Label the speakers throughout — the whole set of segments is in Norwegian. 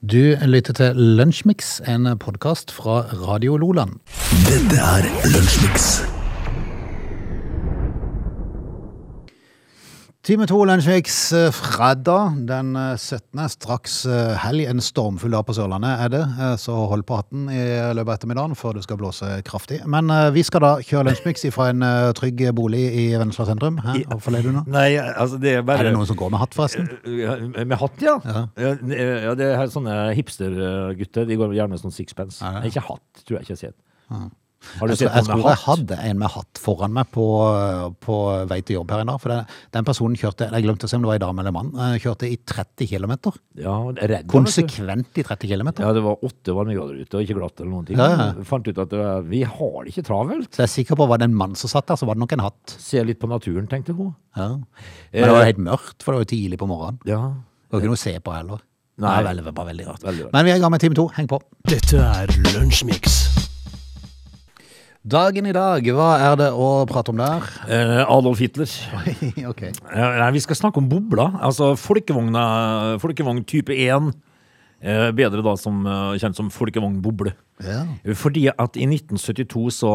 Speaker 1: Du lytter til Lunsjmix, en podkast fra Radio Loland.
Speaker 2: Dette er Lunsjmix.
Speaker 1: Time to Lunsjmix eh, fredag den eh, 17. Straks eh, helg. En stormfull dag på Sørlandet er det, eh, så hold på hatten i løpet av ettermiddagen før det skal blåse kraftig. Men eh, vi skal da kjøre Lunsjmix fra en eh, trygg bolig i Vennesla sentrum. Hæ? Hvorfor ler du nå?
Speaker 3: Nei, altså det er bare
Speaker 1: Er det noen som går med hatt, forresten?
Speaker 3: Ja, Med hatt, ja.
Speaker 1: Ja.
Speaker 3: Ja, ne- ja det er sånne hipstergutter. De går gjerne med sånn sixpence.
Speaker 1: Ja, ja.
Speaker 3: Ikke hatt, tror jeg ikke jeg har sett. Har du
Speaker 1: Jeg tror,
Speaker 3: sett
Speaker 1: jeg
Speaker 3: noen
Speaker 1: tror
Speaker 3: med
Speaker 1: jeg
Speaker 3: hatt?
Speaker 1: hadde en med hatt foran meg på, på vei til jobb her en dag. For den, den personen kjørte jeg glemte å se om det var en dame eller mann, eh, kjørte i 30 km.
Speaker 3: Ja, redd.
Speaker 1: Konsekvent i 30 km.
Speaker 3: Ja, det var åtte varmegrader ute, og ikke glatt eller noen ting.
Speaker 1: Ja, ja.
Speaker 3: Fant ut at det var, vi har det ikke travelt.
Speaker 1: Så jeg er sikker på var det en mann som satt der, så var det nok en hatt.
Speaker 3: Se litt på naturen, tenkte hun.
Speaker 1: Ja. Men det var jo helt mørkt, for det var jo tidlig på morgenen.
Speaker 3: Ja.
Speaker 1: Det var ikke noe å se på heller.
Speaker 3: Nei.
Speaker 1: Det var veldig, bare veldig rart.
Speaker 3: Veldig rart.
Speaker 1: Men vi er i gang med time to. Heng på.
Speaker 2: Dette er Lunsjmix.
Speaker 1: Dagen i dag, hva er det å prate om der?
Speaker 3: Eh, Adolf Hitler.
Speaker 1: ok.
Speaker 3: Eh, Nei, vi skal snakke om bobler. Altså folkevogna, folkevogn type 1. eh, Bedre da som eh, kjent som folkevognboble.
Speaker 1: Ja.
Speaker 3: Fordi at i 1972 så,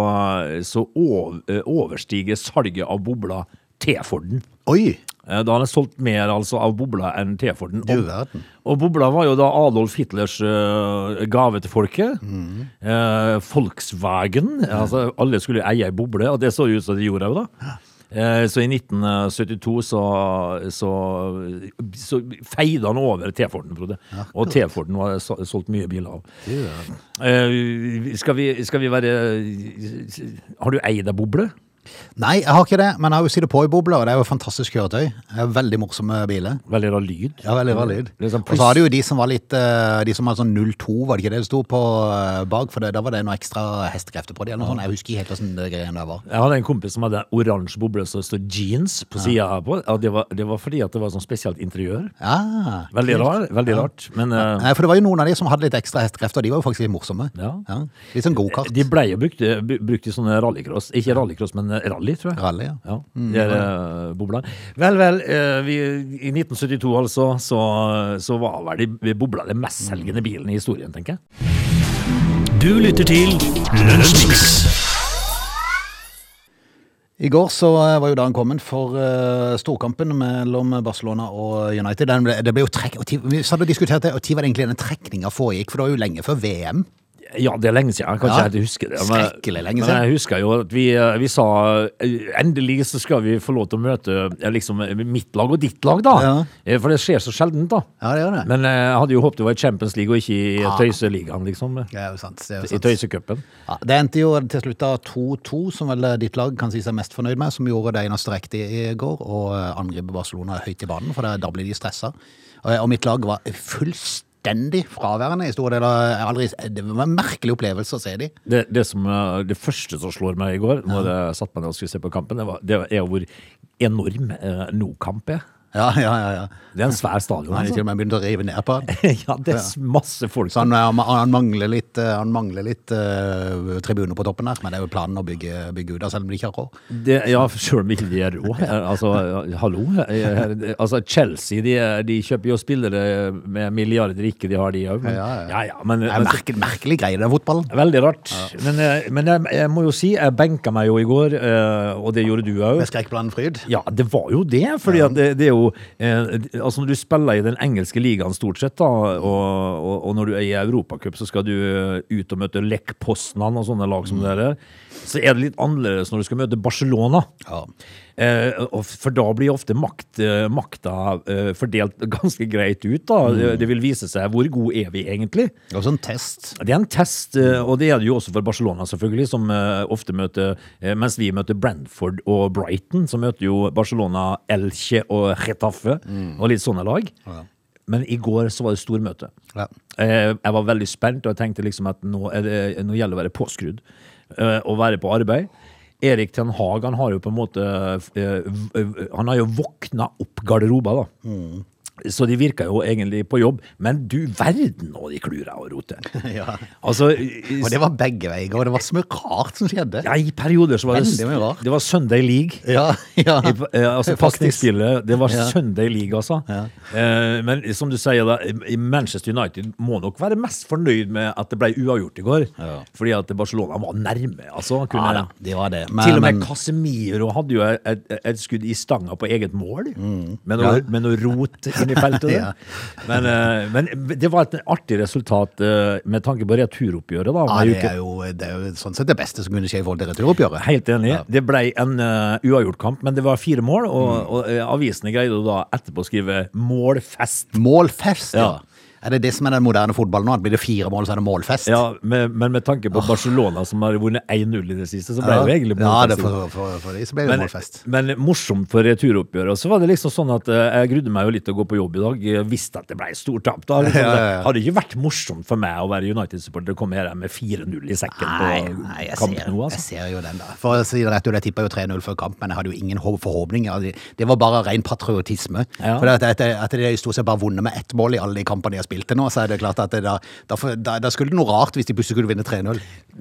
Speaker 3: så ov- eh, overstiger salget av bobler T-Forden.
Speaker 1: Oi!
Speaker 3: Eh, Da har han solgt mer altså, av bobler enn T-Forden.
Speaker 1: Du
Speaker 3: Og,
Speaker 1: verden.
Speaker 3: og bobler var jo da Adolf Hitlers eh, gave til folket. Eh, Volkswagen. Altså, alle skulle eie ei boble, og det så ut som de gjorde òg, da. Eh, Så i 1972 så, så, så feide han over T-Forden, Frode. Og T-Forden var det sol- solgt mye biler av.
Speaker 1: Du verden.
Speaker 3: Eh, skal, vi, skal vi være Har du eid ei boble?
Speaker 1: Nei, jeg har ikke det, men jeg har jo Sidepoi-bobler, og det er jo fantastisk kjøretøy. Det er Veldig morsomme biler.
Speaker 3: Veldig rar lyd.
Speaker 1: Ja, veldig bra lyd.
Speaker 3: Det er sånn
Speaker 1: Og så har du jo de som var litt eh, De som hadde sånn 02, var det ikke det det sto på eh, bak? For det, da var det noe ekstra hestekrefter på de, eller noe sånt. Jeg husker ikke helt hvordan det greiene der var.
Speaker 3: Jeg hadde en kompis som hadde en oransje boble som det stod jeans på sida her på. Ja, det, var, det var fordi at det var sånn spesielt interiør.
Speaker 1: Ja,
Speaker 3: Veldig
Speaker 1: kult.
Speaker 3: rar, veldig rart. Men eh,
Speaker 1: Nei, for det var jo noen av de som hadde litt ekstra hestekrefter, og de var jo faktisk litt morsomme.
Speaker 3: ja.
Speaker 1: Litt sånn gokart.
Speaker 3: De blei jo brukt, bu- brukt i sånne rallycross. Ikke rallycross, men eh, rally, tror jeg.
Speaker 1: Rally, ja.
Speaker 3: Ja, det er eh, bobla. Vel, vel, eh, vi, i 1972 altså, så, så var vel de- de bobla den mestselgende bilen i historien, tenker jeg.
Speaker 2: Du lytter til Lunsjmix.
Speaker 1: I går så eh, var jo dagen kommet for eh, storkampen mellom Barcelona og United. Den ble, det ble jo trekk, og ti, vi satt og diskuterte det, og tid var det egentlig den trekninga foregikk, for det var jo lenge før VM.
Speaker 3: Ja, det er lenge siden. Jeg kan ikke
Speaker 1: Ja.
Speaker 3: helt huske det.
Speaker 1: Skrekkelig lenge siden.
Speaker 3: Men jeg husker jo at vi, vi sa eh, endelig så skal vi få lov til å møte eh, liksom, mitt lag og ditt lag, da.
Speaker 1: Ja.
Speaker 3: Eh, For det skjer så sjeldent, da.
Speaker 1: Ja, det gjør det.
Speaker 3: Men eh, jeg hadde jo håpet det var i Champions League og ikke i Tøyseligaen, liksom.
Speaker 1: det er jo sant. Det, er jo
Speaker 3: I
Speaker 1: sant.
Speaker 3: Tøysecupen.
Speaker 1: Ja, det endte jo til slutt da 2-2, som vel eh, ditt lag kan si seg mest fornøyd med, som gjorde det eneste riktige i går, og eh, angripe Barcelona høyt i banen, for da- da blir de stressa. Og, eh, og mitt lag var fullstendig fraværende i store deler. Jeg har Aldri, eh, det var en merkelig opplevelse å se de.
Speaker 3: Det, det, som, eh, det første som slår meg i går, når jeg satte meg ned og skulle se på kampen, det, var, det er jo hvor enorm eh, Nokamp er.
Speaker 1: Ja, ja, ja. ja.
Speaker 3: Det er en svær stadion,
Speaker 1: Han er
Speaker 3: altså.
Speaker 1: til og med begynt å rive ned på han.
Speaker 3: ja, det er masse folk.
Speaker 1: Så han, eh, han, han mangler litt, eh, han mangler litt eh, tribuner på toppen der, men det er jo planen å bygge, bygge ut av, selv om de ikke har råd.
Speaker 3: Det, ja, sjøl om ikke de er rå. Eh, Altså, eh, hallo. Eh, Altså, Chelsea de, er- de kjøper jo spillere med milliarder ikke de har, de òg.
Speaker 1: Ja, ja.
Speaker 3: Ja, ja, men,
Speaker 1: Det er
Speaker 3: men så,
Speaker 1: merkelig, merkelig greie, det er fotballen.
Speaker 3: Veldig rart. Men, eh, men jeg, jeg må jo si, jeg benka meg jo i går, eh, og det gjorde du òg.
Speaker 1: Med skrekkblandet fryd.
Speaker 3: Ja, det var jo det. fordi at det, det er jo eh, Altså, når du spiller i den engelske ligaen stort sett, da, og, og, og når du er i Europacup, så skal du eh, ut og møte Lech Poznan og sånne
Speaker 1: Mm.
Speaker 3: lag som dere, så er det litt annerledes når du skal møte Barcelona.
Speaker 1: Ja.
Speaker 3: Eh, og f- for da blir ofte makt, eh, makta eh, fordelt ganske greit ut. da det, det vil vise seg hvor god er vi egentlig.
Speaker 1: Det var sånn test.
Speaker 3: Det er en test, eh, og det er det jo også for Barcelona, selvfølgelig, som eh, ofte møter eh, Mens vi møter Brentford og Brighton, så møter jo Barcelona Elche og Retafe og litt sånne lag. Men i går så var det stormøte.
Speaker 1: Ja.
Speaker 3: Eh, Jeg var veldig spent, og jeg tenkte liksom at nå, er det, nå gjelder det å være påskrudd eh, og være på arbeid. Erik Ten Hag
Speaker 1: Mm.
Speaker 3: han har jo på en måte eh, v- eh, Han har jo våkna opp garderoba, da. Så de virka jo egentlig på jobb, men du verden og de klura og roter.
Speaker 1: Ja.
Speaker 3: Altså,
Speaker 1: Og det var begge veier, og det var så mye rart som skjedde.
Speaker 3: ja, I perioder så var det,
Speaker 1: Veldig mye rart.
Speaker 3: det var Sunday League.
Speaker 1: Ja, ja.
Speaker 3: I, eh, altså
Speaker 1: Faktisk.
Speaker 3: Pakningsspillet, det var
Speaker 1: Ja.
Speaker 3: Sunday League, altså. Eh, men som du sier, da, i Manchester United må nok være mest fornøyd med at det ble uavgjort i går.
Speaker 1: Ja.
Speaker 3: Fordi at Barcelona var nærme, altså. Kunne,
Speaker 1: Ja da, det var det.
Speaker 3: til og
Speaker 1: men-
Speaker 3: med Casemiro hadde jo et, et skudd i stanga på eget mål, men, å, men å rote inn i feltet. det.
Speaker 1: Mm. Ja.
Speaker 3: men, eh, men det var et artig resultat eh, med tanke på returoppgjøret. da. om
Speaker 1: ja,
Speaker 3: ei
Speaker 1: det,
Speaker 3: uke.
Speaker 1: er jo, det er jo sånn sett det beste som kunne skje i forhold til returoppgjøret.
Speaker 3: Helt enig. Det ble en eh, uavgjort kamp, men det var fire mål, og,
Speaker 1: Mm.
Speaker 3: og eh, avisene greide jo da etterpå å skrive 'målfest'.
Speaker 1: Målfest, ja.
Speaker 3: Ja.
Speaker 1: Er det det som er den moderne fotballen nå? At Blir det fire mål, så er det målfest?
Speaker 3: Ja, med, Men med tanke på Barcelona, som har vunnet 1-0 i det siste, så ble
Speaker 1: Ja.
Speaker 3: det jo egentlig
Speaker 1: Ja, det
Speaker 3: målfest.
Speaker 1: er for, for, for de så ble det
Speaker 3: men,
Speaker 1: målfest.
Speaker 3: men morsomt for returoppgjøret. Og så var det liksom sånn at eh, jeg grudde meg jo litt til å gå på jobb i dag. Jeg visste at det ble stort tap. Da liksom,
Speaker 1: Ja, ja, ja.
Speaker 3: det hadde ikke vært morsomt for meg å være United-supporter og komme her med 4-0 i sekken på
Speaker 1: nei, jeg
Speaker 3: Camp
Speaker 1: ser,
Speaker 3: Nou.
Speaker 1: jeg
Speaker 3: Altså.
Speaker 1: ser jo den, da. For å si det rett ut, jeg tippa jo 3-0 før kamp, men jeg hadde jo ingen håp- forhåpninger. Altså, Det var bare ren patriotisme.
Speaker 3: Ja.
Speaker 1: For det at, at, at de stort sett bare vunnet med ett mål i alle de kampene de har spilt til nå, så er det klart at det da, da, får- da, da skulle det noe rart hvis de plutselig skulle vinne 3-0.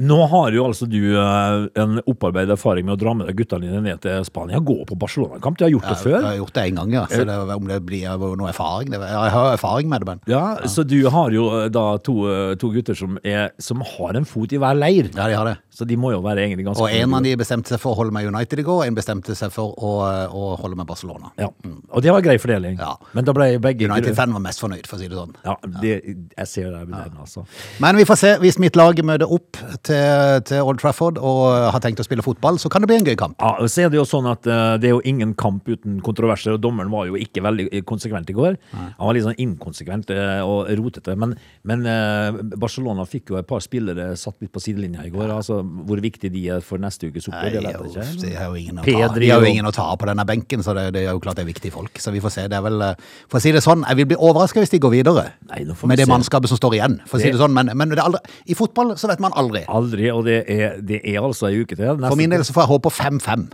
Speaker 3: Nå har jo altså du eh, en opparbeidet erfaring med å dra med deg guttene dine ned til Spania. Gå på Barcelona-kamp. Du har gjort det
Speaker 1: Jeg
Speaker 3: før.
Speaker 1: har gjort det én gang, ja. Så det, om det blir jeg har jo noe erfaring det, Jeg har jo erfaring med det, men
Speaker 3: Ja, Så du har jo eh, da to, eh, to gutter som, er, som har en fot i hver leir.
Speaker 1: ja, de har det.
Speaker 3: Så de må jo være egentlig ganske
Speaker 1: Og en av de bestemte seg for å holde med United i går, en bestemte seg for å, å holde med Barcelona.
Speaker 3: ja. Og det var grei fordeling.
Speaker 1: Ja.
Speaker 3: Men da ble begge
Speaker 1: United-fan var mest fornøyd, for å si det sånn.
Speaker 3: Ja, det, jeg ser deg med den, altså.
Speaker 1: Men vi får se. Hvis mitt lag møter opp til, til Old Trafford og har tenkt å spille fotball, så kan det bli en gøy kamp.
Speaker 3: Ja, og så er Det jo sånn at eh, det er jo ingen kamp uten kontroverser, og dommeren var jo ikke veldig eh, konsekvent i går. Han var litt sånn inkonsekvent eh, og rotete. Men, men eh, Barcelona fikk jo et par spillere satt litt på sidelinja i går. altså Hvor viktig de er for neste ukes
Speaker 1: Nei,
Speaker 3: oppgjør, det
Speaker 1: jo,
Speaker 3: vet jeg
Speaker 1: de
Speaker 3: ikke.
Speaker 1: har jo ingen å ta,
Speaker 3: Pedri
Speaker 1: de har jo
Speaker 3: og-
Speaker 1: ingen å ta på denne benken, så det, det er jo klart det er viktige folk. Så vi får se. Det er vel, eh, for å si det sånn, jeg vil bli overraska hvis de går videre
Speaker 3: Nei, nå får vi
Speaker 1: med det
Speaker 3: se.
Speaker 1: mannskapet som står igjen. For å si
Speaker 3: Det-
Speaker 1: det sånn, men, men det er aldri, i fotball så vet man aldri.
Speaker 3: Aldri, og det er, det er altså ei uke til. Neste-
Speaker 1: For min del så får jeg håpe på 5-5,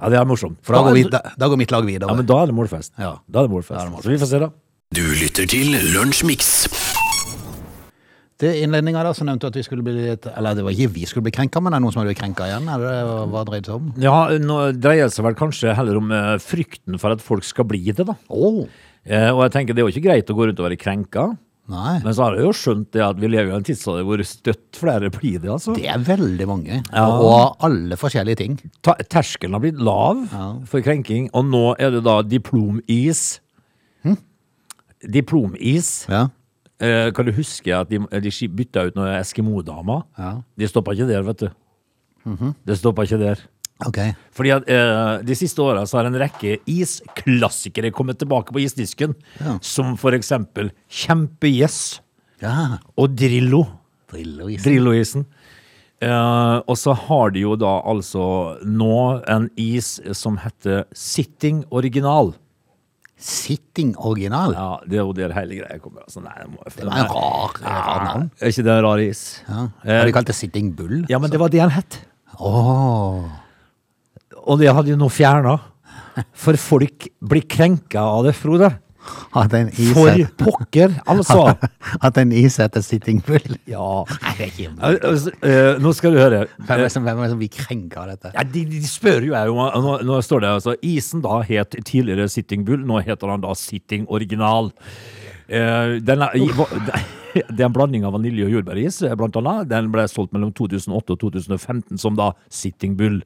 Speaker 3: Ja, det er morsomt.
Speaker 1: for da
Speaker 3: er
Speaker 1: går, vi,
Speaker 3: det-
Speaker 1: da, da går mitt lag
Speaker 3: Ja,
Speaker 1: videre.
Speaker 3: men da er det målfest.
Speaker 1: Ja.
Speaker 3: Da er det målfest. Så vi får se, da.
Speaker 2: Du lytter til Lunsjmix.
Speaker 1: Til innledninga da, så nevnte du at vi skulle bli litt Eller det var ikke vi skulle bli krenka, men det er noen som hadde blitt krenka igjen? Er det det hva dreide det seg om?
Speaker 3: Ja, nå dreier det seg vel kanskje heller om eh, frykten for at folk skal bli det, da.
Speaker 1: Åh,
Speaker 3: Eh, og jeg tenker det er jo ikke greit å gå rundt og være krenka.
Speaker 1: nei.
Speaker 3: Men så har jeg jo skjønt det at vi lever i en tidsalder hvor støtt flere blir det, altså.
Speaker 1: Det er veldig mange, og alle forskjellige ting.
Speaker 3: Ta terskelen har blitt lav for krenking, og nå er det da diplomis.
Speaker 1: Hm?
Speaker 3: Diplomis.
Speaker 1: Ja.
Speaker 3: Eh, kan du huske at de, de sk- bytta ut noen Eskimo-damer?
Speaker 1: Ja. Mhm.
Speaker 3: De stoppa ikke der, vet du. Det stoppa ikke der.
Speaker 1: Ok.
Speaker 3: Fordi at eh, De siste åra har en rekke isklassikere kommet tilbake på isdisken.
Speaker 1: Ja.
Speaker 3: Som for eksempel Kjempegjess
Speaker 1: Ja.
Speaker 3: og Drillo.
Speaker 1: Drilloisen.
Speaker 3: Drillo-isen. Eh, og så har de jo da altså nå en is som heter Sitting Original.
Speaker 1: Sitting original.
Speaker 3: Ja, Det er jo der hele greia kommer. Altså, nei, det, må, det
Speaker 1: Det var en rar, rar navn.
Speaker 3: Er ikke det en rar is?
Speaker 1: Ja. Har
Speaker 3: Eh,
Speaker 1: de kalt det sitting bull?
Speaker 3: ja, men det var det han het.
Speaker 1: Åh.
Speaker 3: Og det hadde jo nå fjerna. For folk blir krenka av det, Frode.
Speaker 1: At en is
Speaker 3: For
Speaker 1: het-
Speaker 3: pokker, altså.
Speaker 1: At en is heter sitting bull.
Speaker 3: Ja.
Speaker 1: Nei, det er ikke
Speaker 3: Eh, eh, Nå skal du høre.
Speaker 1: Hvem er det som, hvem er det som blir krenka av dette?
Speaker 3: Ja, de, de spør jo jeg om og nå, nå står det altså Isen da het tidligere Sitting Bull, nå heter han da Sitting Original. Eh, den, er, i- det er en blanding av vanilje og jordbæris, eh, blant annet. Den ble solgt mellom 2008 og 2015 som da Sitting Bull.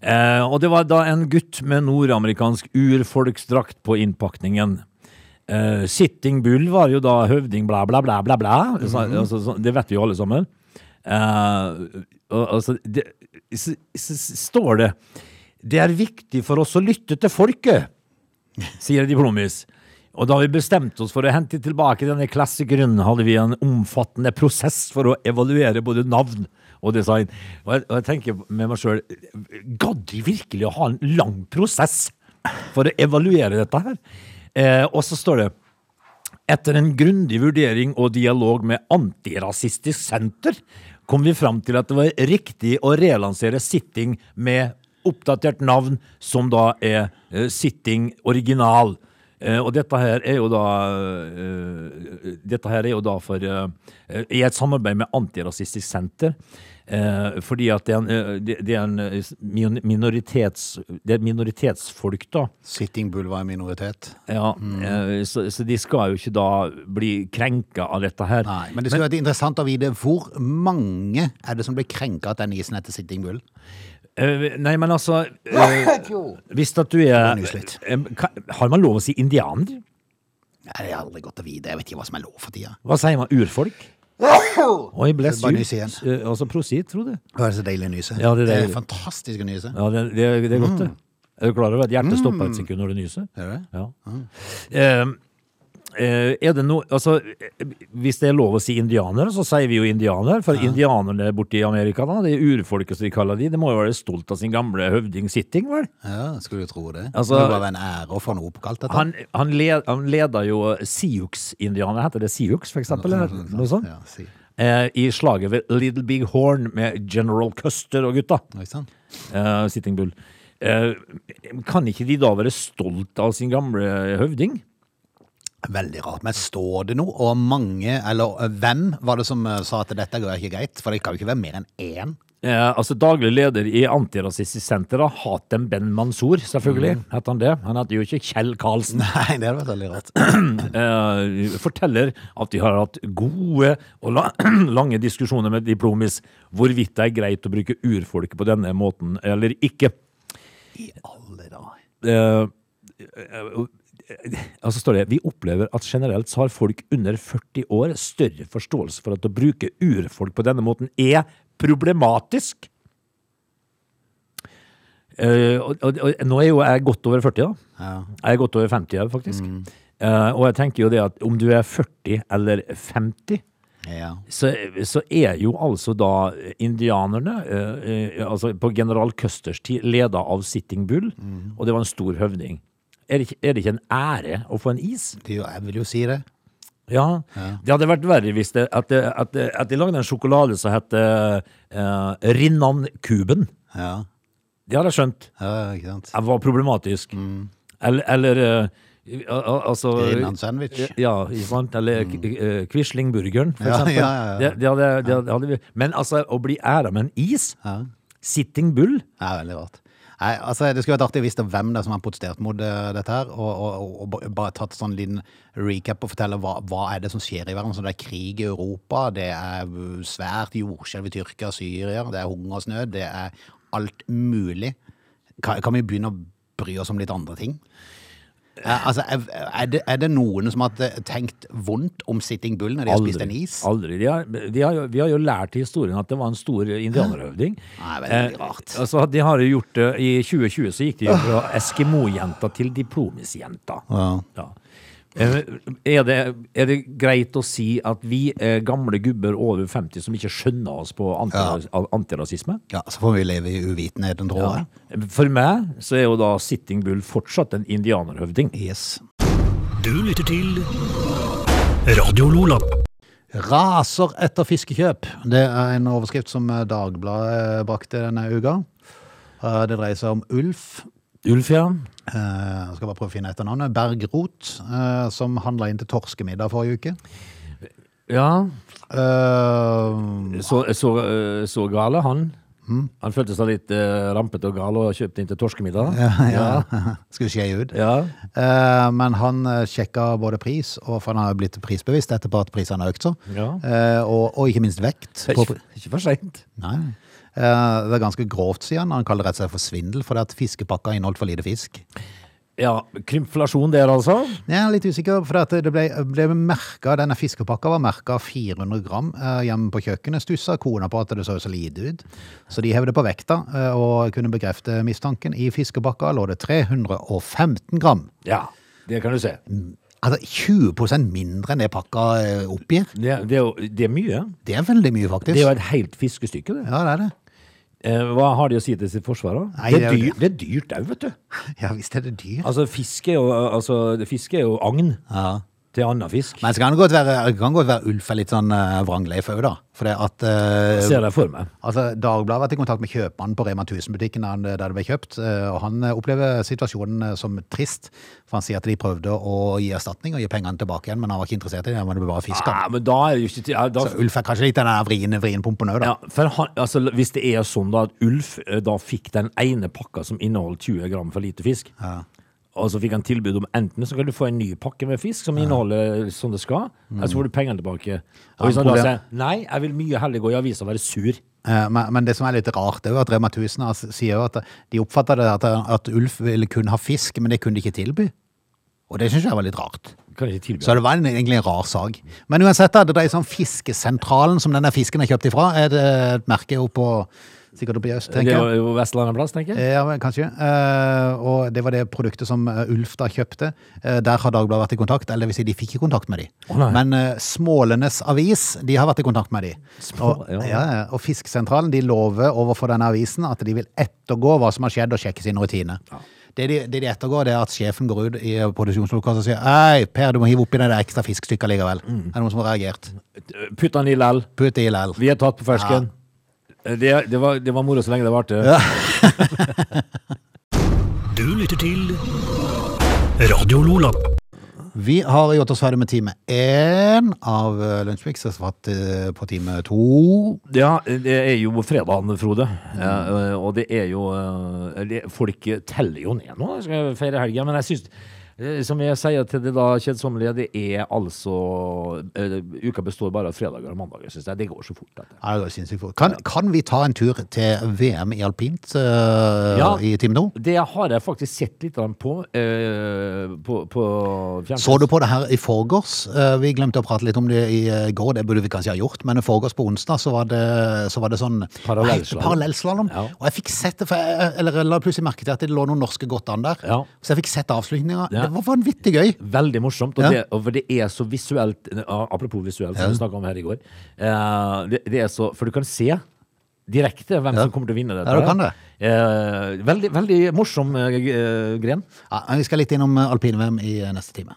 Speaker 3: Eh, og det var da en gutt med nordamerikansk urfolksdrakt på innpakningen. Eh, Sitting Bull var jo da høvding bla, bla, bla, bla, bla. Så, altså, så, det vet vi jo alle sammen. Eh, og- altså, det, s, s, s, står det Det er viktig for oss å lytte til folket, sier Diplomis. Og da vi bestemte oss for å hente tilbake denne klassikeren, hadde vi en omfattende prosess for å evaluere både navn og design. Og jeg, og jeg tenker med meg sjøl Gadd de virkelig å ha en lang prosess for å evaluere dette her? Eh, og så står det etter en grundig vurdering og dialog med Antirasistisk Senter kom vi fram til at det var riktig å relansere Sitting med oppdatert navn, som da er eh, Sitting original. Eh, og dette her er jo da eh, Dette her er jo da for eh, I et samarbeid med Antirasistisk Senter. Eh, fordi at det er en, eh, det, det er en eh, min- minoritets... Det er minoritetsfolk, da.
Speaker 1: Sitting Bull var en minoritet.
Speaker 3: Ja,
Speaker 1: Mm.
Speaker 3: eh, så, så de skal jo ikke da bli krenka av dette her.
Speaker 1: Nei, men det skulle vært interessant å vite hvor mange er det som ble krenka at den isen heter Sitting Bull?
Speaker 3: Eh, nei, men altså eh, Hvis at du er
Speaker 1: Det var nyslitt.
Speaker 3: Eh, kan- Har man lov å si indianer?
Speaker 1: Nei, Det er aldri godt å vite. Jeg vet ikke hva som er lov for tida.
Speaker 3: Hva sier man? Urfolk? Oi, bless
Speaker 1: Så bare
Speaker 3: you.
Speaker 1: nys igjen.
Speaker 3: Eh, Altså prosit, tror jeg.
Speaker 1: Det er så deilig å nyse.
Speaker 3: Ja, det er deilig.
Speaker 1: fantastisk å nyse.
Speaker 3: Ja, det, det, det er
Speaker 1: Mm.
Speaker 3: godt, det. Er du klar over at hjertet stopper et sekund når du nyser?
Speaker 1: Er det?
Speaker 3: Ja. Eh, eh, er det noe Altså, eh, hvis det er lov å si indianer, så sier vi jo indianer. For indianerne borte i Amerika, da, det er urfolket som de kaller de, det må jo være stolt av sin gamle høvding Sitting, vel?
Speaker 1: Ja, skulle du tro det.
Speaker 3: Altså-
Speaker 1: det må jo være en ære å få noe oppkalt etter.
Speaker 3: Han, han, led, han leder jo Sioux-indianere, heter det Sioux, for eksempel? Eller noe sånt?
Speaker 1: Ja, si.
Speaker 3: eh, i slaget ved Little Big Horn med General Custer og gutta.
Speaker 1: Ikke sant?
Speaker 3: Eh, Sitting Bull. Eh, kan ikke de da være stolt av sin gamle høvding?
Speaker 1: Veldig rart. Men står det noe? Og mange, eller eh, hvem, var det som eh, sa at dette går ikke greit? For det kan jo ikke være mer enn én.
Speaker 3: Eh, altså Daglig leder i Antirasistisk Senter, da, Hatem Ben Mansour, selvfølgelig. Heter han det? Han heter jo ikke Kjell Karlsen.
Speaker 1: Nei, det hadde vært veldig rart.
Speaker 3: Eh, forteller at de har hatt gode og la lange diskusjoner med Diplomis hvorvidt det er greit å bruke urfolket på denne måten eller ikke.
Speaker 1: I alle dager.
Speaker 3: Eh, altså står det Vi opplever at generelt så har folk under 40 år større forståelse for at å bruke urfolk på denne måten er problematisk. Eh, og, og, og nå er jo jeg godt over 40, da.
Speaker 1: Ja.
Speaker 3: Jeg er godt over 50, jeg, faktisk. Eh, og jeg tenker jo det at om du er 40 eller 50
Speaker 1: ja.
Speaker 3: så, så er jo altså da indianerne, eh, eh, altså på general Custers tid, leda av Sitting Bull, og det var en stor høvding. Er det, ikke, er det ikke en ære å få en is?
Speaker 1: Det er jo- Jeg vil jo si det.
Speaker 3: Ja. Det hadde vært verre hvis det, at, det, at, det, at de lagde en sjokolade som het eh, Rinnan-kuben.
Speaker 1: Ja,
Speaker 3: Det hadde jeg skjønt.
Speaker 1: ja ikke sant.
Speaker 3: Det var problematisk. Eller, eller eh, al- al- altså
Speaker 1: Rinnan-sandwich.
Speaker 3: Ja, ikke sant? Eller mm. Quislingburgeren, for
Speaker 1: Ja,
Speaker 3: eksempel.
Speaker 1: ja, ja, ja.
Speaker 3: Det, det hadde, det hadde, hadde vi. Men altså, å bli æra med en is
Speaker 1: Ja.
Speaker 3: Sitting Bull?
Speaker 1: Ja, veldig rart. Nei, altså, det skulle vært artig å vite hvem det er som har protestert mot eh, dette her, og, og, og, og ba- bare tatt sånn liten recap og fortelle hva, hva er det som skjer i verden. Så det er krig i Europa, det er uh, svært jordskjelv i Tyrkia og Syria, det er hungersnød, det er alt mulig. Kan, kan vi begynne å bry oss om litt andre ting? Eh, Altså, er, er, det, er det noen som har eh, tenkt vondt om Sitting Bull når de har spist en is?
Speaker 3: Aldri. De har, de har, jo- vi har jo lært i historien at det var en stor indianerhøvding.
Speaker 1: Nei, veldig rart.
Speaker 3: Eh, altså, de har jo gjort det I 2020 så gikk de jo fra Eskimo-jenta til Diplomis-jenta.
Speaker 1: Ja.
Speaker 3: Ja. Eh, Er det, er det greit å si at vi er gamle gubber over 50 som ikke skjønner oss på antiras antirasisme?
Speaker 1: Ja, så får vi leve i uvitenheten, tror jeg.
Speaker 3: For meg så er jo da Sitting Bull fortsatt en indianerhøvding.
Speaker 1: Yes.
Speaker 2: Du lytter til Radio Lola.
Speaker 1: Raser etter fiskekjøp. Det er en overskrift som Dagbladet brakte denne uka. Eh, Det dreier seg om Ulf.
Speaker 3: Ulf, ja.
Speaker 1: eh, Jeg skal bare prøve å finne etter navnet. Bergrot, eh, som handla inn til torskemiddag forrige uke.
Speaker 3: ja.
Speaker 1: Eh,
Speaker 3: Så, så, eh, så gale han. Han følte seg litt eh, rampete og gal og kjøpte inn til torskemiddag.
Speaker 1: ja, skulle skje ut.
Speaker 3: Ja.
Speaker 1: Eh, Men han eh, sjekka både pris, og for han har jo blitt prisbevisst etterpå at prisene har økt så.
Speaker 3: Ja.
Speaker 1: Eh, Og, og ikke minst vekt.
Speaker 3: Det er
Speaker 1: på-
Speaker 3: Ikke, ikke for seint.
Speaker 1: Nei. Eh, Det er ganske grovt, sier han. Han kaller det rett og slett for svindel, fordi at fiskepakka inneholdt for lite fisk.
Speaker 3: Ja, krymflasjon der, altså.
Speaker 1: Jeg er litt usikker, for at det ble, ble merket, denne fiskepakka var merket 400 gram eh, hjemme på kjøkkenet. Stussa kona på at det så så lite ut. Så de hevde på vekta eh, og kunne bekrefte mistanken. I fiskepakka lå det 315 gram.
Speaker 3: Ja, det kan du se.
Speaker 1: Altså 20 mindre enn det pakka eh, oppgir.
Speaker 3: Det, det, er, jo- det er mye.
Speaker 1: Det er veldig mye, faktisk.
Speaker 3: Det er jo et helt fiskestykke, det.
Speaker 1: Ja, det er det.
Speaker 3: Eh, hva har de å si til sitt forsvar, da?
Speaker 1: Nei,
Speaker 3: det,
Speaker 1: det
Speaker 3: er
Speaker 1: er jo
Speaker 3: dyr, det er dyrt òg, vet du.
Speaker 1: Ja visst er det dyr.
Speaker 3: Altså, fisk eh, er jo, altså, fisk er jo agn.
Speaker 1: Ja.
Speaker 3: til annen fisk.
Speaker 1: Men så kan det godt være, det kan godt være Ulf er litt sånn uh, vrangleif òg, da. For det at eh,
Speaker 3: Ser jeg for meg.
Speaker 1: altså, Dagbladet har vært i kontakt med kjøpmannen på Rema 1000-butikken der han- der det ble kjøpt, eh, og han eh, opplever situasjonen eh, som trist. For han sier at de prøvde å gi erstatning og gi pengene tilbake igjen, men han var ikke interessert i det. Men det ble bare fisk.
Speaker 3: Nei,
Speaker 1: da.
Speaker 3: Ah, men da er det jo ikke til- ja, da,
Speaker 1: Så Ulf er kanskje litt den der vriene vrien pumpen òg, da.
Speaker 3: ja, for han, altså, Hvis det er sånn da at Ulf eh, da fikk den ene pakka som inneholdt 20 gram for lite fisk, og så fikk han tilbud om enten så kan du få en ny pakke med fisk som inneholder som det skal,
Speaker 1: Mm.
Speaker 3: eller så får du pengene tilbake. Og hvis han da
Speaker 1: problem-
Speaker 3: sier nei, jeg vil mye heller gå i avisa og være sur.
Speaker 1: Eh, Men, men det som er litt rart, er jo at Rema 1000 har- sier jo at de oppfatter det at, at Ulf ville kun ha fisk, men det kunne de ikke tilby. Og det syns jeg var litt rart.
Speaker 3: Kan ikke tilby
Speaker 1: Så det var en, egentlig en rar sag. Men uansett, da, det dreier seg om Fiskesentralen, som denne fisken er kjøpt ifra. Er det et merke oppå Sikkert oppe i øst,
Speaker 3: Det
Speaker 1: tenker jeg.
Speaker 3: er jo Vestlandet plass, tenker jeg.
Speaker 1: Eh, Ja, men kanskje. Eh, og det var det produktet som eh, Ulf da kjøpte. Eh, der har Dagbladet vært i kontakt, eller det vil si de fikk ikke kontakt med de.
Speaker 3: Å, nei.
Speaker 1: men eh, Smålenes avis, de har vært i kontakt med de.
Speaker 3: Små-
Speaker 1: Eh, og,
Speaker 3: ja.
Speaker 1: ja. ja, og Fiskesentralen, de lover overfor denne avisen at de vil ettergå hva som har skjedd og sjekke sine rutiner. Det de, det de ettergår, det er at sjefen går ut i produksjonslokalet og sier Hei, Per, du må hive oppi det der ekstra fiskestykket likevel. Er det noen som har reagert?
Speaker 3: Putt han i lell.
Speaker 1: Putt det i lel.
Speaker 3: Vi er tatt på fersken. Eh, Det, det, var, det var moro så lenge det varte.
Speaker 2: Du lytter til Radio Lola.
Speaker 1: Vi har gjort oss ferdig med time én av eh, Lunsjmix, og så fatt eh, på time to.
Speaker 3: Ja, det er jo fredagen, Frode. Eh, og det er jo eh, det- Folk teller jo ned nå, skal feire helga. Men jeg syns, eh, som jeg sier til det da kjedsommelige, det er altså eh, Uka består bare av fredager og mandager, syns jeg. Det går så fort. Dette.
Speaker 1: Ja, det går sinnssykt fort. Kan, kan vi ta en tur til VM i alpint eh,
Speaker 3: Ja.
Speaker 1: i time to?
Speaker 3: Det har jeg faktisk sett litt grann på, eh, på, på fjernsyn.
Speaker 1: Så du på det her i forgårs? Eh, Vi glemte å prate litt om det i eh, går, det burde vi kanskje ha gjort, men i forgårs på onsdag så var det, så var det sånn
Speaker 3: Parallellslalom.
Speaker 1: Nei, parallellslalom.
Speaker 3: Ja.
Speaker 1: Og jeg fikk sett det, for jeg, eller jeg la plutselig merke til at det lå noen norske godt an der.
Speaker 3: Ja.
Speaker 1: Så jeg fikk sett avslutninga.
Speaker 3: Ja.
Speaker 1: Det var vanvittig gøy.
Speaker 3: Veldig morsomt, og
Speaker 1: Ja.
Speaker 3: det, og for det er så visuelt eh, Apropos visuelt, som vi snakka om her i går. Eh, det, det er så, For du kan se direkte hvem som kommer til å vinne dette.
Speaker 1: Ja, du kan det.
Speaker 3: Eh, veldig, veldig morsom eh, g- eh, gren.
Speaker 1: Ja, men vi skal litt innom eh, alpin-VM i eh, neste time.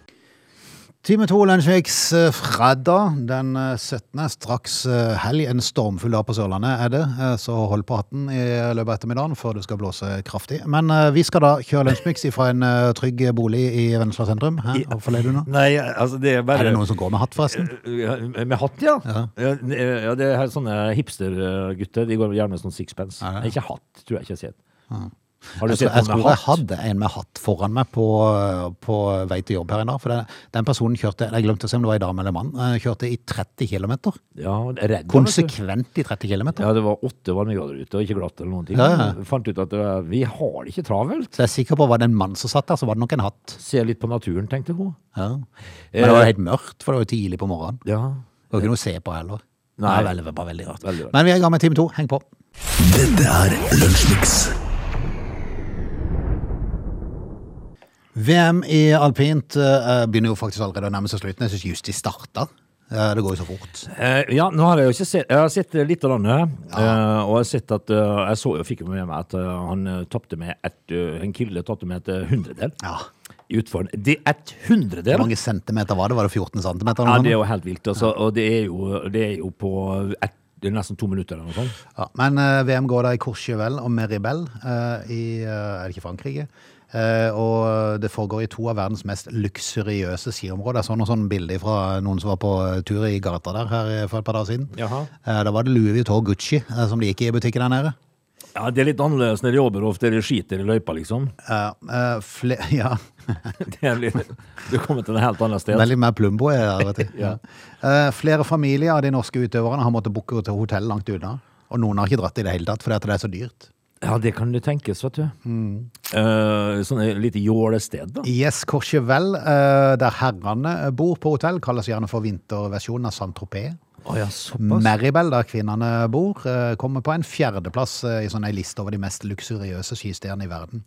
Speaker 1: Time to Lunsjmix eh, fredag den eh, 17. Straks eh, helg. En stormfull dag på Sørlandet er det, eh, så hold på hatten i løpet av ettermiddagen før det skal blåse kraftig. Men eh, vi skal da kjøre Lunsjmix fra en eh, trygg bolig i Vennesla sentrum. Hæ? Hvorfor ler du nå?
Speaker 3: Nei, altså det er
Speaker 1: Er
Speaker 3: bare
Speaker 1: det noen som går med hatt, forresten?
Speaker 3: Eh, Med hatt, ja. Ja. eh, ja. Det er her sånne hipstergutter. De går gjerne med sånn sixpence. Ikke hatt, tror jeg ikke jeg har sett. Har du
Speaker 1: Jeg tror
Speaker 3: sett
Speaker 1: jeg,
Speaker 3: noen
Speaker 1: tror
Speaker 3: med
Speaker 1: jeg
Speaker 3: hatt?
Speaker 1: hadde en med hatt foran meg på, eh, på vei til jobb her en dag. For den, den personen kjørte jeg glemte å se om det var en dame eller mann, eh, kjørte i 30 km.
Speaker 3: Ja, redd, vet du.
Speaker 1: Konsekvent i 30 km.
Speaker 3: Ja, det var åtte varmegrader ute, og ikke glatt eller noen ting.
Speaker 1: Ja, ja.
Speaker 3: Fant ut at det var, vi har det ikke travelt.
Speaker 1: Så jeg er sikker på var det en mann som satt der, så var det nok en hatt.
Speaker 3: Se litt på naturen, tenkte hun.
Speaker 1: Ja. Men det var jo
Speaker 3: Eh,
Speaker 1: helt mørkt, for det var jo tidlig på morgenen.
Speaker 3: Ja.
Speaker 1: Det var ikke noe å se på heller.
Speaker 3: Nei.
Speaker 1: Det var veldig, bare veldig rart.
Speaker 3: Veldig rart.
Speaker 1: Men vi er i gang med time to. Heng på.
Speaker 2: Dette er Lunsjmix.
Speaker 1: VM i alpint eh, begynner jo faktisk allerede å nærme seg slutten. Jeg syns just de starta. Eh, det går jo så fort.
Speaker 3: Eh, ja, nå har jeg jo ikke sett Jeg har sett eh, litt av denne, eh, og jeg har sett at eh, Jeg så jo fikk jo med meg at eh, han eh, tapte med et eh, En kille tapte med et eh, hundredel
Speaker 1: Ja.
Speaker 3: i utfaren. Det er et
Speaker 1: Hvor
Speaker 3: hundredel!
Speaker 1: mange centimeter var det? Var det 14 centimeter?
Speaker 3: Ja,
Speaker 1: eller noe sånt?
Speaker 3: det er jo helt vilt, altså. Og det er jo, det er jo på ett, det er nesten to minutter eller noe sånt.
Speaker 1: Ja, men eh, VM går da i Courchevel og Meribel eh, i eh, Er det ikke Frankrike? Eh, og det foregår i to av verdens mest luksuriøse skiområder. Jeg så noen sånne bilder fra noen som var på eh, tur i gata der her eh, for et par dager siden.
Speaker 3: Jaha.
Speaker 1: Eh, da var det Louis Vuitton og Gucci eh, som de gikk i butikken der nede.
Speaker 3: Ja, Det er litt annerledes når de jobber ofte, de skiter i løypa, liksom.
Speaker 1: Ja, eh, fle ja.
Speaker 3: Det er litt, du kommer til et helt annet sted.
Speaker 1: Veldig mer plumbo er jeg, vet du. Ja. Eh, flere familier av de norske utøverne har måttet booke til hotell langt unna. Og noen har ikke dratt i det hele tatt, fordi at det er så dyrt.
Speaker 3: Ja, det kan det tenkes, vet du.
Speaker 1: Mm.
Speaker 3: Eh, sånn et lite jålested, da.
Speaker 1: Yes, Courchevel, eh, der herrene bor på hotell, kalles gjerne for vinterversjonen av Saint-Tropez.
Speaker 3: Å ja, såpass.
Speaker 1: Meribel, der kvinnene bor, eh, kommer på en fjerdeplass eh, i sånn ei liste over de mest luksuriøse skistedene i verden.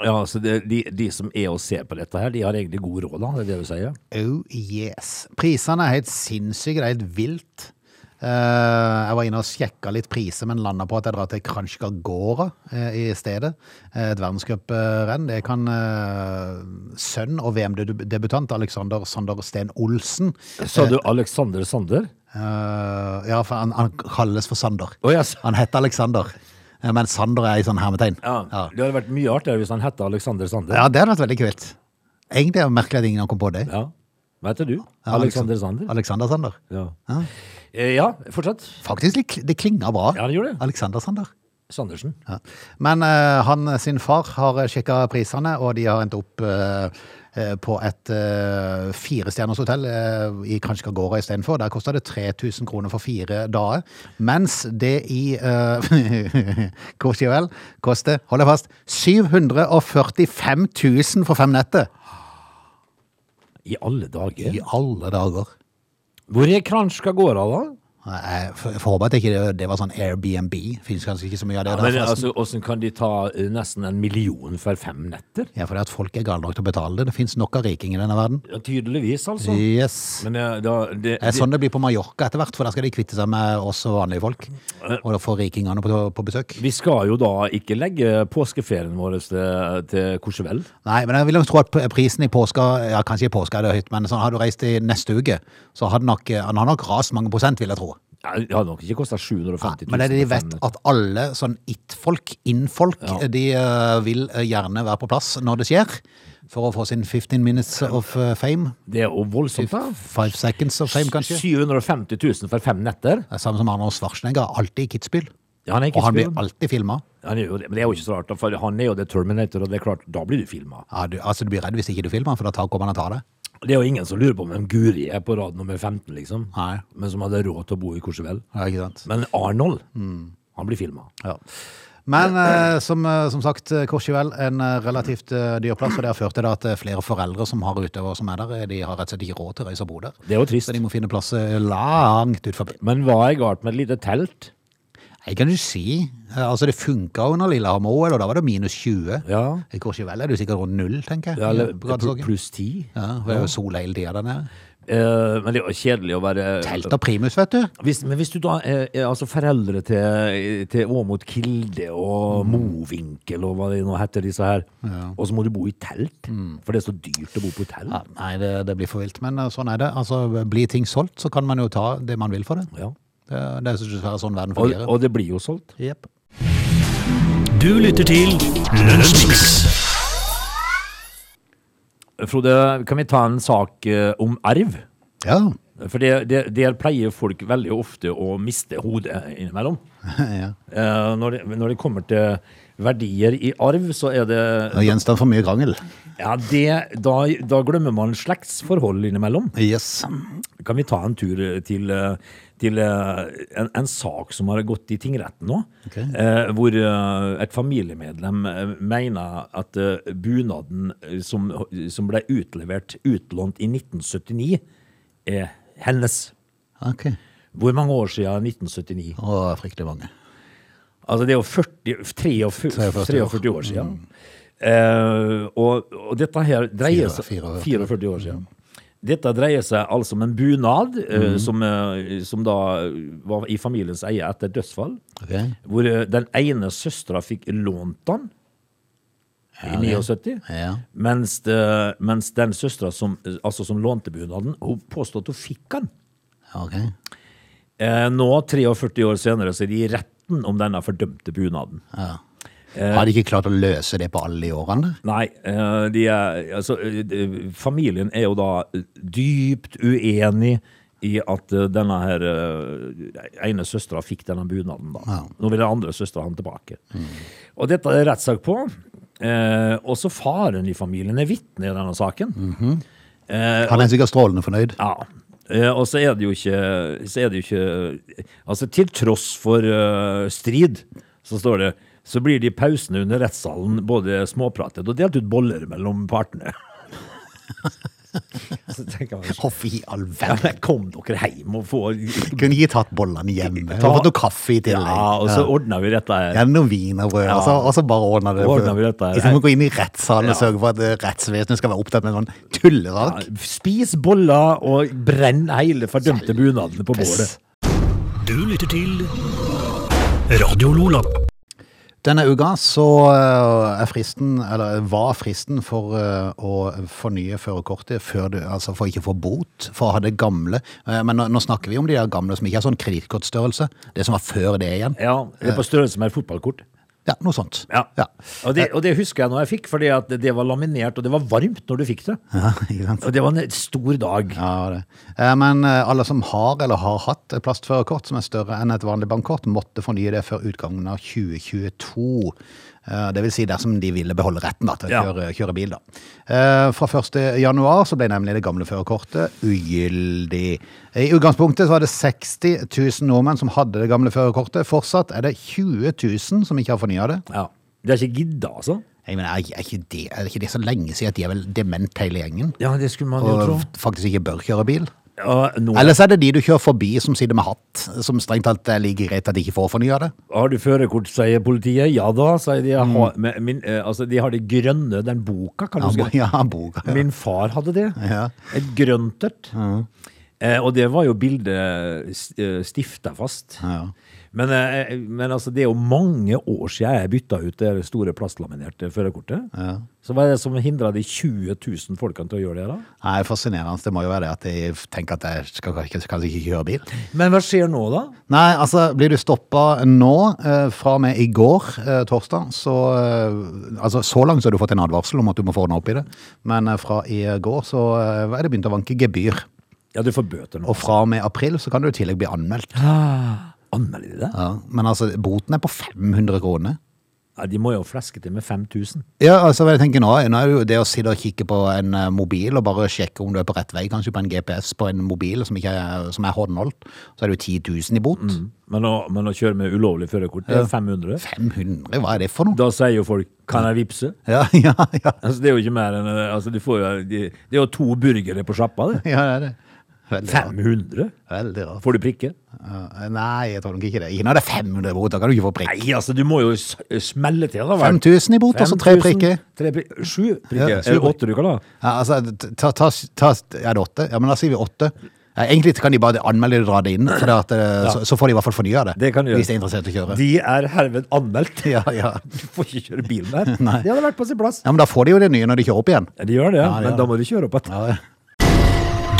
Speaker 3: Ja, så det, de, de som er og ser på dette her, de har egentlig god råd, da. Det er det du sier?
Speaker 1: Oh yes. Prisene er helt sinnssyke, det er helt vilt. Eh, jeg var inne og sjekka litt priser, men landa på at jeg drar til Kranjkagora uh, i stedet. Eh, et verdenscuprenn. Det kan eh, sønn og VM-debutant Alexander Sander Steen Olsen
Speaker 3: Sa du Alexander Sander?
Speaker 1: Eh, Ja, for han, han kalles for Sander.
Speaker 3: Å, jeg sa-
Speaker 1: Han heter Alexander, eh, men Sander er i sånn hermetegn.
Speaker 3: Ja. Det hadde vært mye artigere hvis han hette Alexander Sander.
Speaker 1: Ja, det hadde vært veldig kult. Egentlig er det merkelig at ingen har kommet på det.
Speaker 3: Ja. Hva heter du?
Speaker 1: Ja,
Speaker 3: Alexander Sander?
Speaker 1: Alexander Sander.
Speaker 3: Ja.
Speaker 1: Ja.
Speaker 3: Eh, ja, fortsett.
Speaker 1: Faktisk, litt- det klinger bra.
Speaker 3: Ja, det gjorde det.
Speaker 1: Alexander Sander.
Speaker 3: Sandersen.
Speaker 1: Ja. Men eh, han sin far har sjekka prisene, og de har endt opp eh, eh, på et uh, firestjerners hotell uh, i Kranjkagora istedenfor. Der kosta det 3000 kroner for fire dager. Mens det i uh, Courchevel koster, hold deg fast, 745 000 for fem netter.
Speaker 3: I alle dager.
Speaker 1: I alle dager.
Speaker 3: Hvor er Kranjkagora, da?
Speaker 1: Jeg f- får håpe at ikke det, det var sånn Airbnb. Fins kanskje ikke så mye av det
Speaker 3: Ja,
Speaker 1: der.
Speaker 3: men
Speaker 1: forresten.
Speaker 3: altså, Hvordan kan de ta eh, nesten en million for fem netter?
Speaker 1: Ja, fordi at folk er gale nok til å betale det. Det fins nok av rikinger i denne verden.
Speaker 3: Ja, tydeligvis, altså.
Speaker 1: Yes.
Speaker 3: Men eh, da, det,
Speaker 1: Det er sånn det blir på Mallorca etter hvert, for der skal de kvitte seg med oss vanlige folk. Og da får rikingene på, på besøk.
Speaker 3: vi skal jo da ikke legge påskeferien vår til, til Courchevel.
Speaker 1: Nei, men jeg vil nok tro at p- prisen i påska Ja, kanskje i påska er det høyt, men sånn, hadde du reist i neste uke, så hadde nok, eh, han har nok rast mange prosent, vil jeg tro.
Speaker 3: Ja, Det hadde nok ikke kosta 750 000.
Speaker 1: Men det er det de
Speaker 3: for fem
Speaker 1: vet
Speaker 3: netter.
Speaker 1: at alle sånn it-folk, in-folk, de eh, vil eh, gjerne være på plass når det skjer, for å få sin 15 minutes of eh, fame.
Speaker 3: Det er jo voldsomt, da.
Speaker 1: Five seconds of fame, kanskje.
Speaker 3: 750 000 for fem netter.
Speaker 1: Det er samme som Arnold Schwarzenegger, alltid i Kitzbühel.
Speaker 3: Ja, han er ikke
Speaker 1: Og han blir
Speaker 3: spilleren.
Speaker 1: alltid filma.
Speaker 3: Han er jo det, men det er jo ikke så rart, da, for han er jo The Terminator, og det er klart, da blir du filma.
Speaker 1: Ja, du, altså, du blir redd hvis ikke du filmer, han, for da tar- kommer han og tar det.
Speaker 3: Det er jo ingen som lurer på om en Guri er på rad nummer 15, liksom.
Speaker 1: Nei.
Speaker 3: Men som hadde råd til å bo i Courchevel.
Speaker 1: Ja, ikke sant?
Speaker 3: Men Arnold,
Speaker 1: Mm.
Speaker 3: han blir filma.
Speaker 1: Ja. Men eh, som, eh, som sagt, eh, Courchevel en eh, relativt eh, dyr plass, og det har ført til da at eh, flere foreldre som har utøvere som er der, eh, de har rett og slett ikke råd til å reise og bo der.
Speaker 3: Det er jo trist.
Speaker 1: Så de må finne plass eh, langt ut forbi.
Speaker 3: Men hva er galt med et lite telt?
Speaker 1: Jeg kan jo si, eh, altså det funket under Lillehammer-OL, og da var det minus 20.
Speaker 3: Ja.
Speaker 1: I Courchevel er du sikkert rundt null, tenker jeg.
Speaker 3: Ja, eller
Speaker 1: på Gratishockey.
Speaker 3: pluss ti.
Speaker 1: Ja, for det er jo sol hele tiden der nede.
Speaker 3: Eh, men det er jo kjedelig å være
Speaker 1: Telt og primus, vet du.
Speaker 3: Hvis, men hvis du da er, er altså foreldre til, eh, til Åmot Kilde
Speaker 1: Mm.
Speaker 3: og Movinkel og hva det nå heter disse her, og så må du bo i telt, for det er så dyrt å bo på telt.
Speaker 1: Mm. Ja, nei, det, det blir for vilt, men eh, sånn er det. Altså, blir ting solgt, så kan man jo ta det man vil for det.
Speaker 3: Ja.
Speaker 1: Det, det er dessverre sånn verden
Speaker 3: Og,
Speaker 1: fungerer.
Speaker 3: og det blir jo solgt.
Speaker 1: Jep.
Speaker 2: Du lytter til Lunsjmix.
Speaker 3: Frode, kan vi ta en sak eh, om arv?
Speaker 1: Ja.
Speaker 3: For det, det, der pleier folk veldig ofte å miste hodet innimellom.
Speaker 1: ja.
Speaker 3: Eh, når, det, når det kommer til verdier i arv, så er det
Speaker 1: Det er gjenstand for mye krangel.
Speaker 3: Ja, det, da, da glemmer man slektsforhold innimellom.
Speaker 1: Yes.
Speaker 3: Kan vi ta en tur til, eh, til eh, en, en sak som har gått i tingretten nå?
Speaker 1: Ok.
Speaker 3: Eh, hvor eh, et familiemedlem eh, mener at eh, bunaden eh, som, som ble utlevert, utlånt i 1979, er hennes.
Speaker 1: Ok.
Speaker 3: Hvor mange år siden 1979?
Speaker 1: Å, fryktelig mange.
Speaker 3: Altså, det er jo 40, 43,
Speaker 1: 43 år. Mm.
Speaker 3: 43 år siden. Eh, og, og dette her dreier seg
Speaker 1: 44.
Speaker 3: 44 år siden.
Speaker 1: Mm.
Speaker 3: Dette dreier seg altså om en bunad eh, som, eh, som da var i familiens eie etter dødsfall.
Speaker 1: Ok.
Speaker 3: Hvor eh, den ene søstera fikk lånt den i 79.
Speaker 1: Ja.
Speaker 3: Mens, det, mens den søstera som, altså som lånte bunaden, hun påstod at hun fikk den.
Speaker 1: Ok.
Speaker 3: Eh, nå, 43 år senere, så er de i retten om denne fordømte bunaden.
Speaker 1: Ja.
Speaker 3: Eh.
Speaker 1: Har de ikke klart å løse det på alle de årene?
Speaker 3: Nei, eh, de er, altså, eh, de- familien er jo da eh, dypt uenig i at eh, denne her eh, ene søstera fikk denne bunaden. Da.
Speaker 1: Ja.
Speaker 3: Nå vil den andre søstera ha den tilbake. Og dette er rettssak på. Eh, også faren i familien er vitne i denne saken. eh,
Speaker 1: Han er sikkert strålende fornøyd.
Speaker 3: ja. Eh, Og så er det jo ikke Så er det jo ikke Altså, til tross for eh, strid, så står det så blir det i pausene under rettssalen både småpratet og delt ut boller mellom partene. Så tenker jeg,
Speaker 1: Hvorfor i all
Speaker 3: ja,
Speaker 1: verden?
Speaker 3: men kom dere hjem og få
Speaker 1: Kunne ikke tatt bollene hjemme. Ta... Fått noe kaffe i tillegg.
Speaker 3: Ja, og så ordner vi dette.
Speaker 1: Ja, noen wienerbrød, og, så- og så bare ordner det.
Speaker 3: Ordner vi dette her.
Speaker 1: Istedenfor å gå inn i rettssalen
Speaker 3: Ja.
Speaker 1: og sørge for at eh, rettsvesenet skal være opptatt med noen tullesak.
Speaker 3: Spis boller og brenn hele fordømte bunadene på bålet.
Speaker 2: Du lytter til Radio Lola.
Speaker 1: Denne uka så eh, er fristen, eller var fristen for eh, å fornye førerkortet før du, altså for ikke å få bot, for å ha det gamle. Eh, Men nå, nå snakker vi om de der gamle som ikke har sånn kredittkortstørrelse. Det som var før det igjen.
Speaker 3: Ja, det er på størrelse med et fotballkort.
Speaker 1: Ja, noe sånt.
Speaker 3: Ja.
Speaker 1: Ja,
Speaker 3: Og, det, og det husker jeg når jeg fikk, fordi at det var laminert, og det var varmt når du fikk det.
Speaker 1: ja ikke sant.
Speaker 3: Og det var en stor dag.
Speaker 1: Ja, det. Eh, Men eh, alle som har eller har hatt et plastførerkort som er større enn et vanlig bankkort, måtte fornye det før utgangen av 2022. Eh, Det vil si dersom de ville beholde retten da, til å
Speaker 3: Ja.
Speaker 1: kjøre, kjøre bil. Da. Eh, Fra 1. januar så ble nemlig det gamle førerkortet ugyldig. I utgangspunktet så var det 60 000 nordmenn som hadde det gamle førerkortet. Fortsatt er det 20 000 som ikke har fornya det.
Speaker 3: Ja. Det er ikke gidda, altså.
Speaker 1: Jeg mener, er, er, ikke det, er ikke det så lenge siden at de er vel dement hele gjengen?
Speaker 3: Ja, det skulle man jo tro.
Speaker 1: Og faktisk ikke bør kjøre bil?
Speaker 3: Ja, nå
Speaker 1: Ellers er det de du kjører forbi som sitter med hatt, som strengt talt er like greit at de ikke får fornya det.
Speaker 3: har du førerkort, sier politiet. Ja da, sier de. Jeg har, men min, eh, altså, de har det grønne, den boka, kan du
Speaker 1: Mm. Ja,
Speaker 3: huske?
Speaker 1: bo- ja, boka. Ja.
Speaker 3: Min far hadde det.
Speaker 1: Ja.
Speaker 3: Et grønt et. Eh, og det var jo bildet stifta fast.
Speaker 1: Ja.
Speaker 3: Men, eh, men altså, det er jo mange år siden jeg bytta ut det store plastlaminerte førerkortet. Så hva er det som hindra de 20 000 folkene til å gjøre det? da?
Speaker 1: Nei, fascinerende. Det må jo være det at de tenker at jeg skal kanskje, kanskje ikke kjøre bil.
Speaker 3: Men hva skjer nå, da?
Speaker 1: Nei, altså, blir du stoppa nå, eh, fra og med i går, eh, torsdag, så eh, Altså, så langt så har du fått en advarsel om at du må få ordna opp i det, men eh, fra i går så eh, er det begynt å vanke gebyr.
Speaker 3: Ja, du får bøter nå.
Speaker 1: Og fra og med april så kan du i tillegg bli anmeldt.
Speaker 3: Anmelder de det? Ja.
Speaker 1: Ja, men altså, boten er på 500 kroner.
Speaker 3: de må jo fleske til med 5000.
Speaker 1: Ja, altså hva jeg tenker nå, nå er det jo det å sitte og kikke på en eh, mobil og bare sjekke om du er på rett vei, kanskje på en GPS på en mobil som, ikke er, som er håndholdt, så er det jo 10 000 i bot.
Speaker 3: Men, å- men å kjøre med ulovlig førerkort, Mm, det er 500.
Speaker 1: 500, hva er det for noe?
Speaker 3: Da sier jo folk 'kan jeg vippse'?
Speaker 1: Ja, ja, ja,
Speaker 3: Altså, det er jo ikke mer enn eh, altså, du får jo, de, Det er jo to burgere på sjappa, det.
Speaker 1: ja, det er det. Veldig rart.
Speaker 3: 500?
Speaker 1: Veldig rart.
Speaker 3: Får du prikke?
Speaker 1: Ja, Nei, jeg tror nok ikke det. Ikke når det er 500 bot, da kan du ikke få prikk.
Speaker 3: Nei, altså, du må jo s- smelle til, da. vel?
Speaker 1: 5000 i bot, og så altså tre
Speaker 3: 5000,
Speaker 1: prikker.
Speaker 3: tre pri- Sju prikker.
Speaker 1: Ja, sju
Speaker 3: Eller
Speaker 1: prikker.
Speaker 3: åtte du kan ha.
Speaker 1: Ja, altså, ta, ta, ta, er det åtte? Ja, men da sier vi åtte. Ja, egentlig kan de bare anmelde det og dra det inn, for det at, eh, så, så får de i hvert fall fornya det,
Speaker 3: Det kan de gjøre.
Speaker 1: hvis de er interessert i å kjøre.
Speaker 3: De er herved anmeldt.
Speaker 1: Ja, ja.
Speaker 3: Du får ikke kjøre bilen der.
Speaker 1: Nei.
Speaker 3: Det hadde vært på sin plass.
Speaker 1: ja, men da får de jo det nye når de kjører opp igjen.
Speaker 3: Ja, de gjør det,
Speaker 1: de
Speaker 3: men
Speaker 1: gjør
Speaker 3: da
Speaker 1: det.
Speaker 3: må du kjøre opp igjen.
Speaker 1: Ja, ja.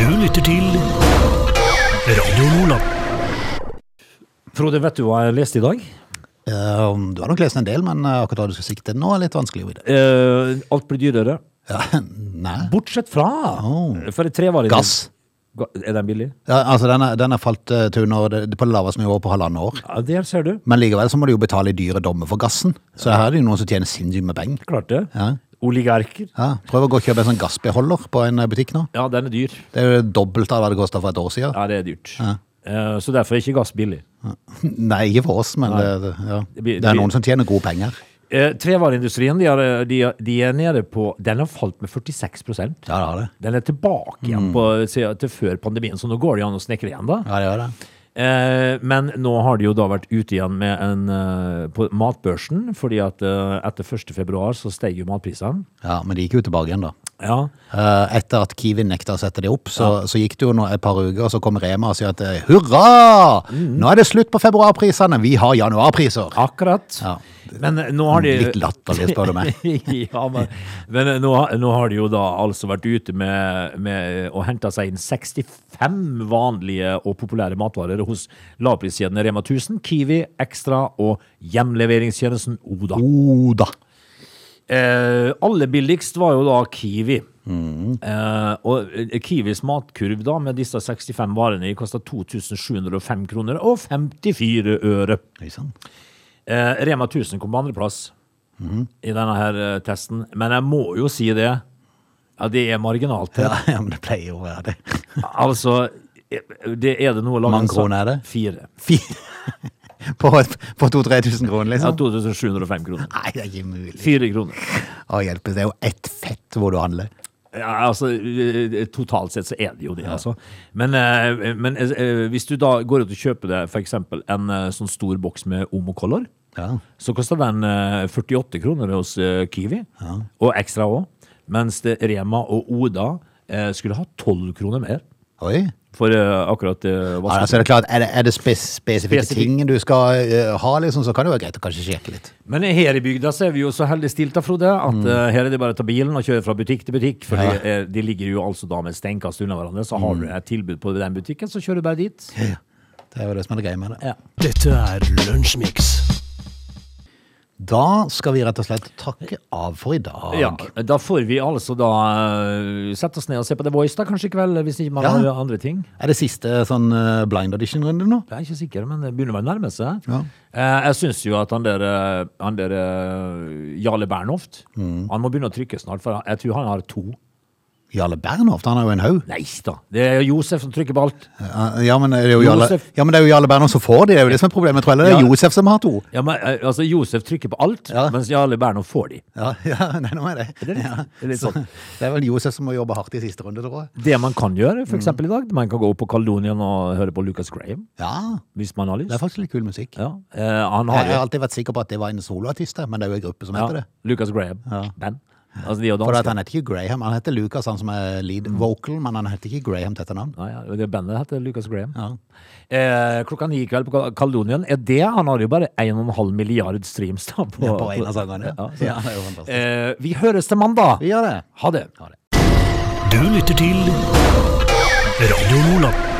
Speaker 2: Du lytter til Radio Lola.
Speaker 3: Frode, vet du hva jeg leste i dag?
Speaker 1: Um, Du har nok lest en del, men uh, akkurat hva du skal sikte nå er litt vanskelig å vite.
Speaker 3: Eh, alt blir dyrere.
Speaker 1: Ja, nei.
Speaker 3: Bortsett fra
Speaker 1: Oh.
Speaker 3: For et trevarer
Speaker 1: Gass.
Speaker 3: Ga- Er den billig?
Speaker 1: Ja, altså, den, er, den er falt uh, til under det, på det laveste nivået på halvannet år.
Speaker 3: Ja, Der ser du.
Speaker 1: Men likevel så må du jo betale i dyre dommer for gassen. Så her er det jo noen som tjener sinnssykt med penger.
Speaker 3: Klart det.
Speaker 1: Ja.
Speaker 3: Oligarker.
Speaker 1: Ja, prøv å gå og kjøpe en sånn gassbeholder på en uh, butikk nå.
Speaker 3: Ja, den er dyr.
Speaker 1: Det er jo det dobbelte av hva det kosta for et år siden.
Speaker 3: Ja, det er dyrt. Eh, så derfor er ikke gass billig.
Speaker 1: Nei, ikke for oss, men det, det- ja.
Speaker 3: Det blir-
Speaker 1: det er
Speaker 3: det-
Speaker 1: noen som tjener gode penger.
Speaker 3: Eh, trevareindustrien de er, de, er- de er nede på Den har falt med 46
Speaker 1: Ja, det har det.
Speaker 3: Den er tilbake
Speaker 1: Mm.
Speaker 3: igjen på, se- til før pandemien, så nå går det jo an å snekre igjen, da.
Speaker 1: Ja, det gjør det.
Speaker 3: Eh, men nå har de jo da vært ute igjen med en, eh, på matbørsen, fordi at eh, etter 1. februar så steg jo matprisene.
Speaker 1: Ja, Men de gikk jo tilbake igjen, da.
Speaker 3: Ja.
Speaker 1: Eh, Etter at Kiwi nekta å sette det opp, så, så gikk det jo nå et par uker, og så kom Rema og sier at eh, hurra! Nå er det slutt på februarprisene, vi har januarpriser!
Speaker 3: Akkurat.
Speaker 1: Mhm. Ja.
Speaker 3: Men eh, nå har de
Speaker 1: Litt latterlig, spør du meg.
Speaker 3: ja, men, men eh, nå, har- nå har de jo da altså vært ute med, med å hente seg inn 65 vanlige og populære matvarer hos lavpriskjedene Rema 1000, Kiwi, Extra og hjemleveringstjenesten Oda.
Speaker 1: Oh da!
Speaker 3: Eh, aller billigst var jo da Kiwi.
Speaker 1: Mm.
Speaker 3: Eh, og eh, Kiwis matkurv da med disse 65 varene kosta 2705 kroner og 54 øre.
Speaker 1: Oi sann.
Speaker 3: Eh, Rema 1000 kom på andreplass
Speaker 1: Mm.
Speaker 3: i denne her eh, testen. Men jeg må jo si det. Ja, det er marginalt.
Speaker 1: Ja, ja, men det pleier jo å være det.
Speaker 3: Altså, eh, det er det noe
Speaker 1: Hvor mange kroner er det?
Speaker 3: Fire.
Speaker 1: Fy- På, på 2000-3000 kroner,
Speaker 3: Ja,
Speaker 1: liksom?
Speaker 3: 2705 kroner.
Speaker 1: Nei, det er ikke mulig.
Speaker 3: Fire kroner.
Speaker 1: Å hjelpe, det er jo ett fett hvor du handler.
Speaker 3: Ja, altså, eh, Totalt sett så er det jo det, altså. Men, eh, men eh, hvis du da går ut og kjøper det, for eksempel en eh, sånn stor boks med Omocolor,
Speaker 1: Ja.
Speaker 3: så koster den eh, 48 kroner hos eh, Kiwi, og ekstra òg. Mens det Rema og Oda eh, skulle ha 12 kroner mer
Speaker 1: Oi.
Speaker 3: for eh, akkurat eh,
Speaker 1: Ja,
Speaker 3: vask.
Speaker 1: altså, er det klart, er det, er det spes spesifikke
Speaker 3: Spesifikk-
Speaker 1: ting du skal eh, ha, liksom, så kan det jo være greit å kanskje sjekke litt.
Speaker 3: Men her i bygda så er vi jo så heldig stilt da, Frode, at eh, her er det bare å ta bilen og kjøre fra butikk til butikk. For
Speaker 1: Mm. Ja. Mm.
Speaker 3: de, er- de ligger jo altså da med steinkast unna hverandre. Så har du et tilbud på den butikken, så kjører du bare dit.
Speaker 1: Det er jo det som er det greia med det.
Speaker 3: Ja.
Speaker 2: Dette er Lunsjmix.
Speaker 1: Da skal vi rett og slett takke av for i dag.
Speaker 3: Ja, da får vi altså da eh, sette oss ned og se på The Voice da, kanskje i kveld, eh, hvis ikke man
Speaker 1: Ja.
Speaker 3: har andre ting.
Speaker 1: Er det siste sånn eh, blind audition-runde nå?
Speaker 3: Jeg er ikke sikker, men det begynner å være nærme seg.
Speaker 1: Ja.
Speaker 3: Eh, Jeg syns jo at han der, eh, han der eh, Jarle Bernhoft
Speaker 1: Mm.
Speaker 3: Han må begynne å trykke snart, for jeg tror han har to.
Speaker 1: Jarle Bernhoft, han har jo en haug.
Speaker 3: Nei da! Det er Josef som trykker på alt.
Speaker 1: Ja, ja, men eh, det er jo Jarle,
Speaker 3: Josef.
Speaker 1: ja, men det er jo Jarle Bernhoft som får de, det er jo det som er problemet. Jeg tror heller det er
Speaker 3: Ja.
Speaker 1: Josef som har to.
Speaker 3: Ja, men, eh, altså, Josef trykker på alt,
Speaker 1: Ja.
Speaker 3: mens Jarle Bernhoft får de.
Speaker 1: Ja, ja nei, nå er det.
Speaker 3: Er det litt-
Speaker 1: ja.
Speaker 3: er det litt
Speaker 1: Så
Speaker 3: sånn?
Speaker 1: det er vel Josef som må jobbe hardt i siste runde, tror jeg.
Speaker 3: Det man kan gjøre,
Speaker 1: Mm.
Speaker 3: f.eks. eksempel i dag, man kan gå opp på Caledonian og høre på Lucas Graham.
Speaker 1: Ja,
Speaker 3: Hvis man har lyst.
Speaker 1: det er faktisk litt kul musikk.
Speaker 3: ja. eh, han
Speaker 1: Jeg
Speaker 3: har jo
Speaker 1: har alltid vært sikker på at det var en soloartist, der, men det er jo en gruppe som
Speaker 3: ja,
Speaker 1: heter det.
Speaker 3: Lucas Graham. Band. Altså, de er jo
Speaker 1: For at
Speaker 3: danske.
Speaker 1: han heter ikke Graham, han heter Lucas, han som er lead
Speaker 3: Mm.
Speaker 1: vocal, men han heter ikke Graham til etternavn.
Speaker 3: Nei, ja, det bandet heter Lucas Graham.
Speaker 1: Ja.
Speaker 3: Eh, klokka ni i kveld på Kal- Caledonian. Er det Han har jo bare 1,5 milliard streams, da. På,
Speaker 1: På en av sangene.
Speaker 3: Ja,
Speaker 1: Ja,
Speaker 3: så-
Speaker 1: ja, det er jo fantastisk.
Speaker 3: Eh, vi høres til mandag!
Speaker 1: Vi gjør det.
Speaker 3: Ha det.
Speaker 2: Du lytter til Radio Nordland.